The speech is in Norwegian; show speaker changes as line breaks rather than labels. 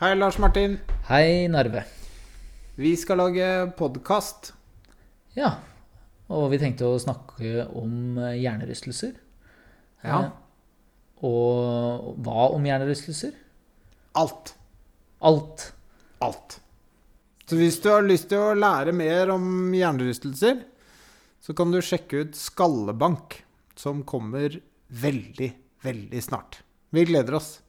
Hei, Lars Martin.
Hei, Narve.
Vi skal lage podkast.
Ja, og vi tenkte å snakke om eh, hjernerystelser.
Ja.
Eh, Og hva om hjernerystelser?
Alt.
Alt.
Alt. Så hvis du har lyst til å lære mer om hjernerystelser, så kan du sjekke ut Skallebank, som kommer veldig, veldig snart. Vi gleder oss.